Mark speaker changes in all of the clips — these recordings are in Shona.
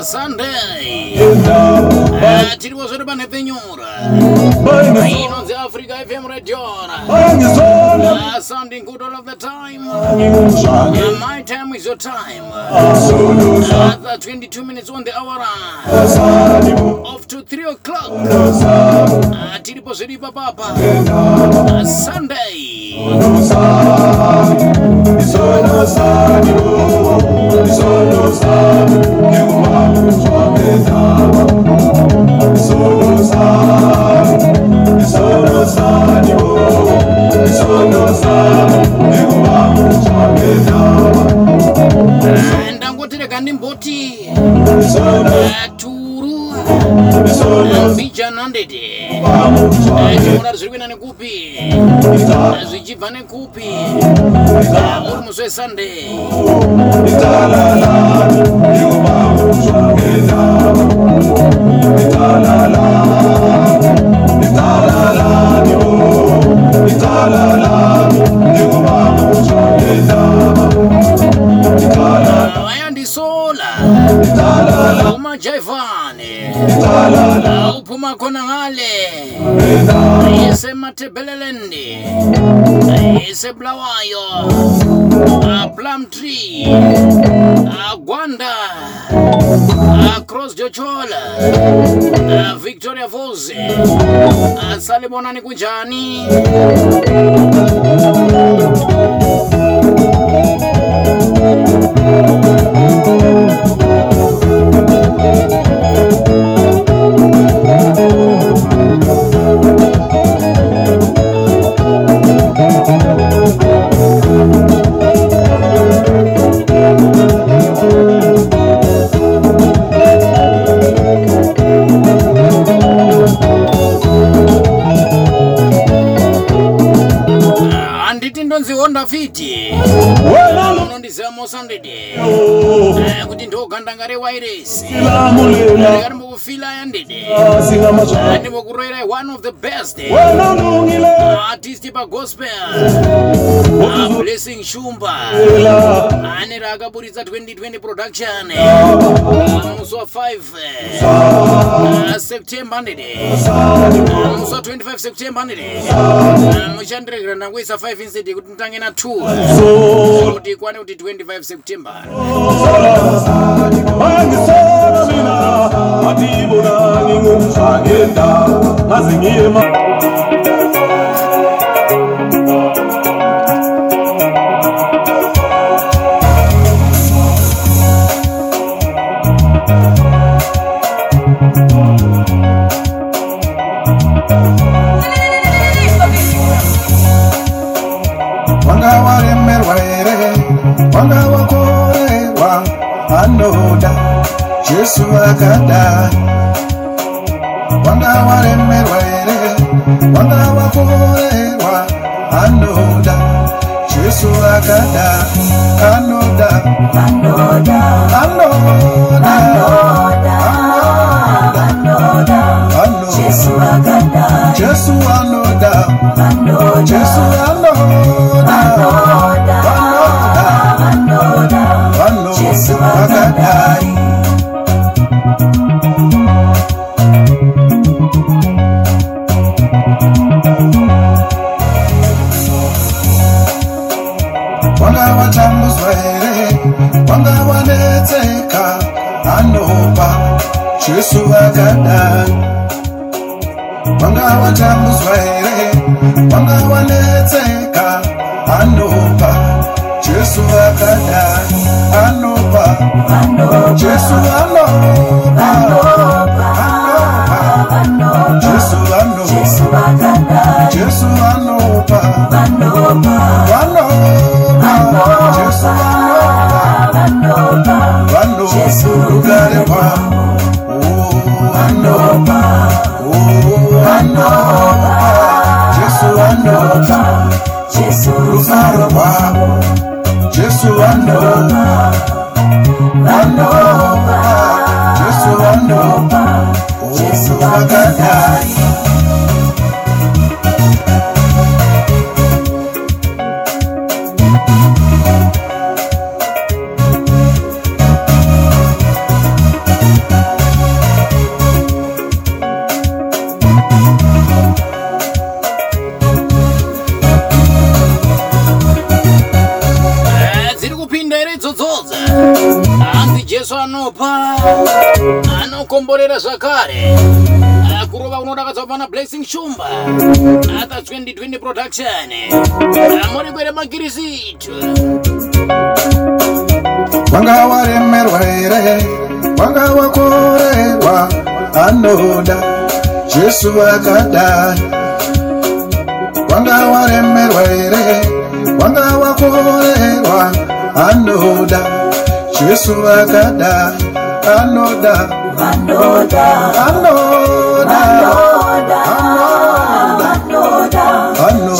Speaker 1: sunday Ah, tiripo zvedu panhepfenyura inonzi africa fm radiora sounding good all of the time Ah, my time is your time Ah, the 22 minutes on the hour of to 3 o'clock Ah, tiripo zvedu ipapapa Ah, sunday Ah, ndangoti rega ndimboti ah, turu mbijanandede chimura zviri kuenda nekupi Ah, zvichibva nekupi Ah, uri musi wesunday Ah, vaya ndisola umajaivhane uphuma khona ngale isematebelelendi isebulawayo plum tree agwanda across jochola victoria voze asalibonani kunjani handiti ndonzi honda fiti unondiziva mosandede kuti ndogandanga rewairesi ndikati mbokufilaya ndede ndimbokuroerai one of the best eh, artist pagospel Ah, blessing shumba ane raakaburitsa 2020 production eh, Ah, musi wa5 eh, ah, september ndede Ah, musi wa25 september ndede Ah, muchandiregera ndangoisa 5 instead yekuti nditange na 2 kuti ikwane kuti 25 september
Speaker 2: ngazingiyema
Speaker 3: wanga waremerwa here wanga wakorerwa anoda jesu akadai wanga waremerwa here wanga wakorerwa anoda jesu akada anoda anoda anoda jesu anoda jesu anoda anoda vano vakadai vanga vatambudzwa here vanga vanetseka anopa jesu vakadai vanga vatambudzwa here vanga vanetseka anopa jesu vakadai anopa jesu anopa anopa jesu anopa jesu anopa vanopa jesu anopa vano rugare rwavo Oh, anopa Oh, anopa jesu anopa rufaro rwavo jesu anopa anopa jesu anopa Oh, jesu vakadai
Speaker 1: Eh, jesu anopa anokomborera zvakare Eh, kurova unodakadzwa pana blessing shumba ata 2020 production Eh, muri kwere makirisitu
Speaker 3: wanga waremerwa here wanga wakorerwa anoda jesu akadai wanga waremerwa here wanga wakorerwa anoda jesu akadai anoda anoda anoda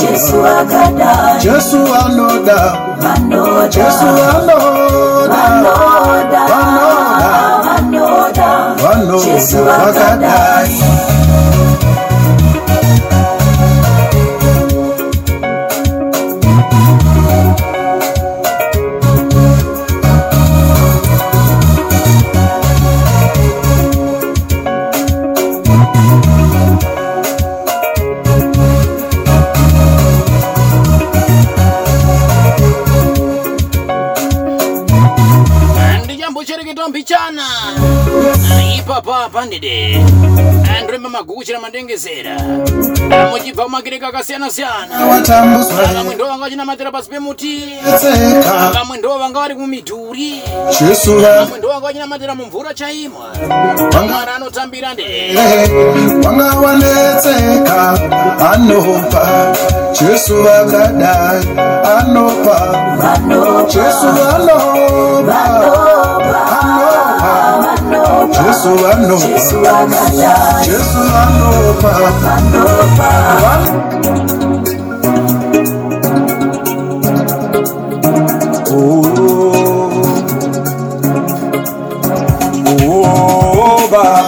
Speaker 3: jesu anoda jesu anoda anoda vanoda vakadai
Speaker 1: Eh, ndichambochereketa mbichana Eh, ipapa pandide andoremba maguku chira mandengesera muchibva kumakireka akasiyana-siyana Eh,
Speaker 3: vatambudzwa
Speaker 1: vamwe ndo vanga vachinamatira pasi pemuti Eh,
Speaker 3: seka
Speaker 1: vamwe ndo vanga vari kumidhuri
Speaker 3: jesu va-
Speaker 1: vamwe ndo vanga vachinamatira mumvura chaimwa
Speaker 3: vanga
Speaker 1: mwana anotambira ndee
Speaker 3: vanga wanetseka anopa jesu vakadai anopa jesu anopa anopa jesu anopa jesu anopa Oh, oh,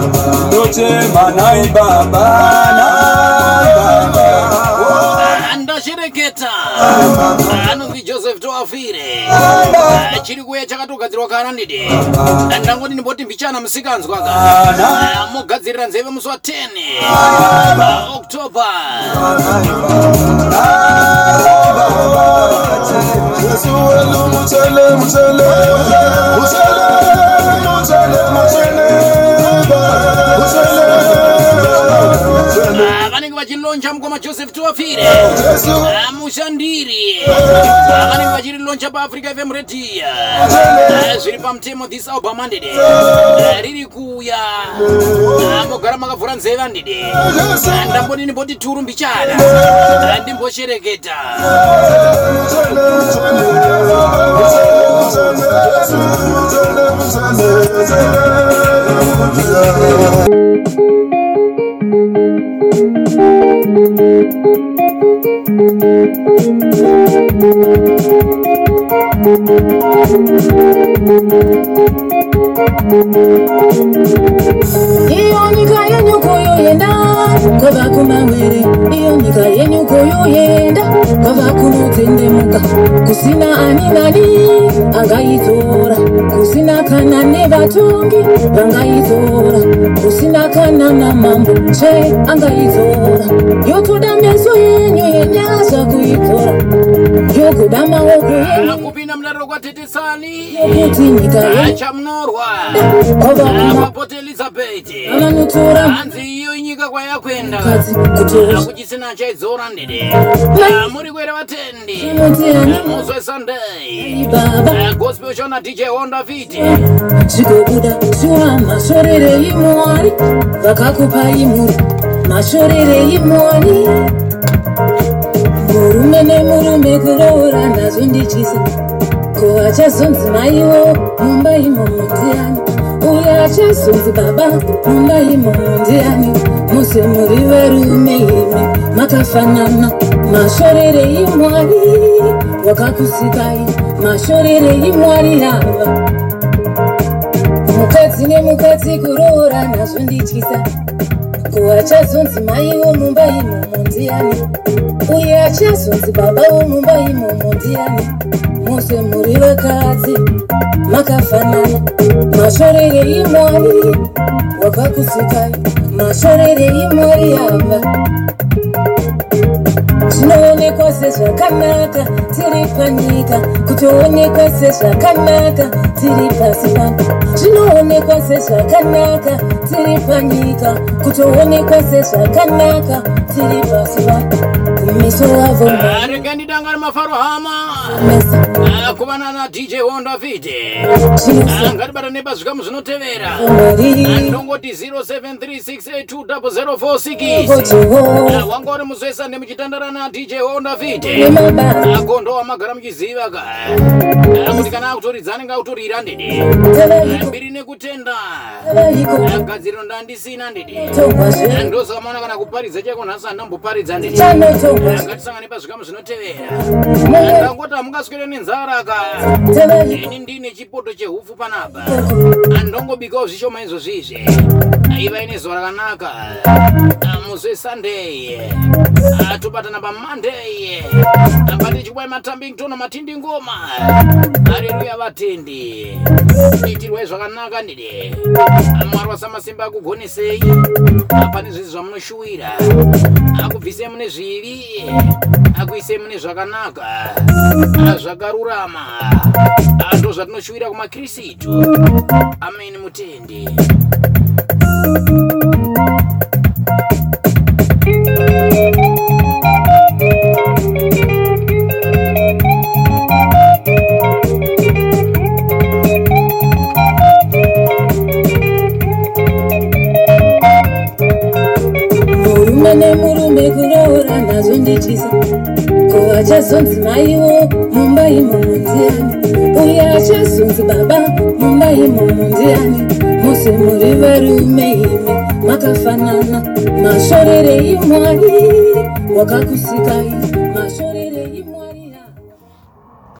Speaker 2: Nochema nai baba nai baba
Speaker 1: andashereketa anonzi joseph toafire chiri kuya chakatogadzirwa karandide ndangoti ndimboti mbichana musikanzwa ka mogadzirira nzeve musi wa10 october
Speaker 3: Jesu wenu mutele mutele mutele mutele mutele mutele
Speaker 1: Ah, vanenge vachiloncha mukoma joseph toafire
Speaker 3: Jesu
Speaker 1: mushandiri Ah, vanenge vachiriloncha paafrica fm redia Ah, zviri pamutemo this album andide riri kuuya mogara makavhura nzeve andide
Speaker 3: Jesu
Speaker 1: ndamboni ndimboti turu mbichana Ah, ndimboshereketa
Speaker 4: iyo nyika yenyu kuyoyenda kwava kumawere iyo nyika yenyu kuyoyenda kwava kunotsendemuka kusina ani nani angaitora kusina kana nevatongi vangaitora kusina kana namambo chai angaitora yotoda meso yenyu yenyasha kuitora yokuda maoko yenyu
Speaker 1: Ah, kupinda mudaro kwatetesani
Speaker 4: yokuti nyika
Speaker 1: Ah,
Speaker 4: yenyu
Speaker 1: achamunorwa
Speaker 4: kwava kumawere
Speaker 1: apopoti elizabheti
Speaker 4: vanotora
Speaker 1: hanzi iyo Ah, inyika kwayakwenda
Speaker 4: mukadzi kutora
Speaker 1: hakuchisina achaidzora ndede Ah, muri kwere vatendi
Speaker 4: zvinodiani
Speaker 1: muzwe sunday Ah,
Speaker 4: baba
Speaker 1: gospel shona dj honda viti
Speaker 4: zvikobuda shuva mashorerei mwari vakakupai muri mashorerei mwari murume nemurume kuroora nazvo ndichisa ko achazonzi maiwo mumba imo mundiani uye achazonzi baba mumba imo mundiani mose muri varume imi makafanana mashorere imwari wakakusikai mashorere imwari yava mukadzi nemukadzi kuroora nazvo ndityisa kuachazonzi mai vomumba imomo ndiani uye achazonzi baba vomumba imomo ndiani mose muri vakadzi makafanana mashorere imwari wakakusikai mashorere imwari yamba zvinoonekwa sezvakanaka tiri panyika kutoonekwa sezvakanaka tiri pasi pano zvinoonekwa sezvakanaka tiri panyika kutoonekwa sezvakanaka tiri pasi pano kumeso wavo
Speaker 1: Ah, regeni danga nemafaro hama Ah, kuvana nadj honda fite Ah, ngatibata nepazvikamu zvinotevera Ah, andongoti 0736820046 Ah,
Speaker 4: Jehovha,
Speaker 1: wanga uri muzoisa nemuchitandara nadj honda fite
Speaker 4: nemabasa
Speaker 1: akondo wamagara muchiziva ka Ah, kuti kana akutoridzane ngautorira ndidi
Speaker 4: tavaiko
Speaker 1: mbiri nekutenda
Speaker 4: tavaiko
Speaker 1: Ah, gadziriro ndandisina ndidi
Speaker 4: tobva zve
Speaker 1: ndosaka maona kana kuparidza chako nhasi handamboparidza ndidi
Speaker 4: chanotobva zve
Speaker 1: ngatisangane pazvikamu zvinotevera
Speaker 4: mumwe
Speaker 1: ndangoti hamungaswere nenzara ka
Speaker 4: tavaiko
Speaker 1: ini ndiine chipoto chehufu panapa andongobikawo zvishoma izvozvizve ivai nezuva rakanaka musi wesunday Ah, tobatana pamonday pati chikwai matambingtono matindi ngoma hareruya vatendi itirwai zvakanaka ndide Ah, mwari wasamasimba akugonesei Ah, pane zvese zvamunoshuwira akubvisei mune zvivi akuisei mune zvakanaka Ah, zvakarurama Ah, ndo zvatinoshuwira kumakrisitu ameni mutendi
Speaker 4: murume nemurume kuroora nazvo ndichisa ko achazonzi maiwo mumba imomo ndiani uye achazonzi baba mumba imomo ndiani mose muri varume imi makafanana mashorere imwari wakakusikai